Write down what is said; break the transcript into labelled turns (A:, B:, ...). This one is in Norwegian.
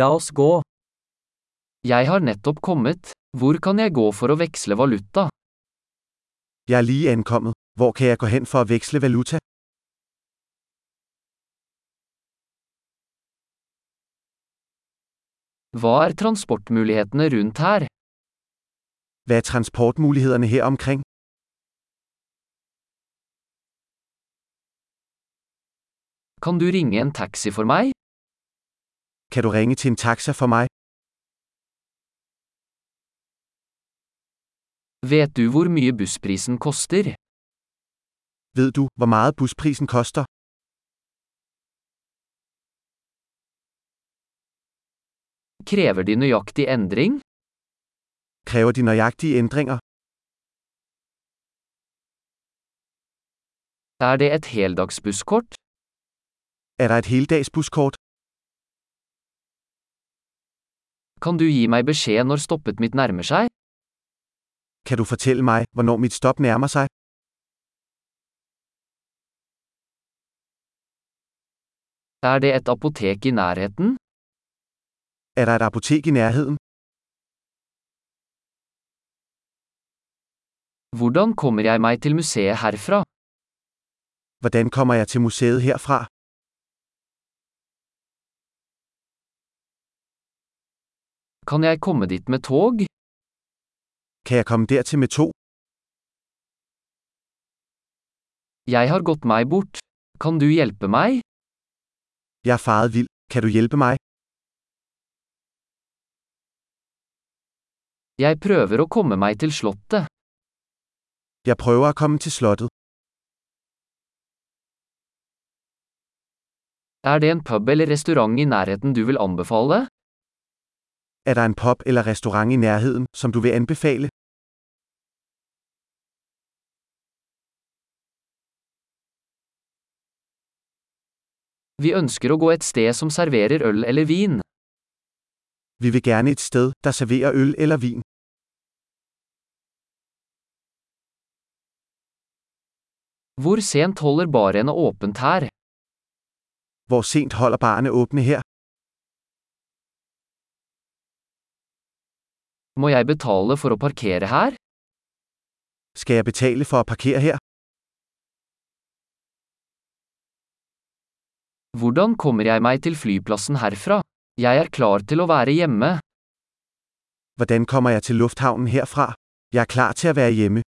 A: La oss gå. Jeg har nettopp kommet. Hvor kan jeg gå for å veksle valuta?
B: Jeg er lige ankommet. Hvor kan jeg gå hen for at veksle valuta?
A: Hva er transportmulighetene rundt her?
B: Hvad er transportmulighederne her omkring?
A: Kan du ringe en taxi for meg?
B: Kan du ringe til en taxa for mig?
A: Vet du hvor mye bussprisen koster?
B: Ved du, hvor meget busprisen koster?
A: Krever de nøyaktig endring?
B: Kræver de nøjagtige ændringer?
A: Er det et heldagsbusskort?
B: Er der et heldags buskort?
A: Kan du gi meg beskjed når stoppet mitt nærmer seg?
B: Kan du fortælle mig, hvornår mit stop nærmer sig?
A: Er det et apotek i nærheten?
B: Er der et apotek i nærheden?
A: Hvordan kommer jeg meg til museet herfra?
B: Hvordan kommer jeg til museet herfra?
A: Kan jeg komme dit med tog?
B: Kan jeg komme dertil med to?
A: Jeg har gått meg bort. Kan du hjelpe meg?
B: Jeg er faret vild. Kan du hjælpe mig?
A: Jeg prøver å komme meg til slottet.
B: Jeg prøver at komme til slottet.
A: Er det en pub eller restaurant i nærheten du vil anbefale?
B: Er der en pub eller restaurant i nærheden, som du vil anbefale?
A: Vi ønsker å gå et sted som serverer øl eller vin.
B: Vi vil gerne et sted, der serverer øl eller vin.
A: Hvor sent holder barene åpent her?
B: Hvor sent holder barene åbne her?
A: Må jeg betale for å parkere her?
B: Skal jeg betale for at parkere her?
A: Hvordan kommer jeg meg til flyplassen herfra? Jeg er klar til å være hjemme.
B: Hvordan kommer jeg til lufthavnen herfra? Jeg er klar til at være hjemme.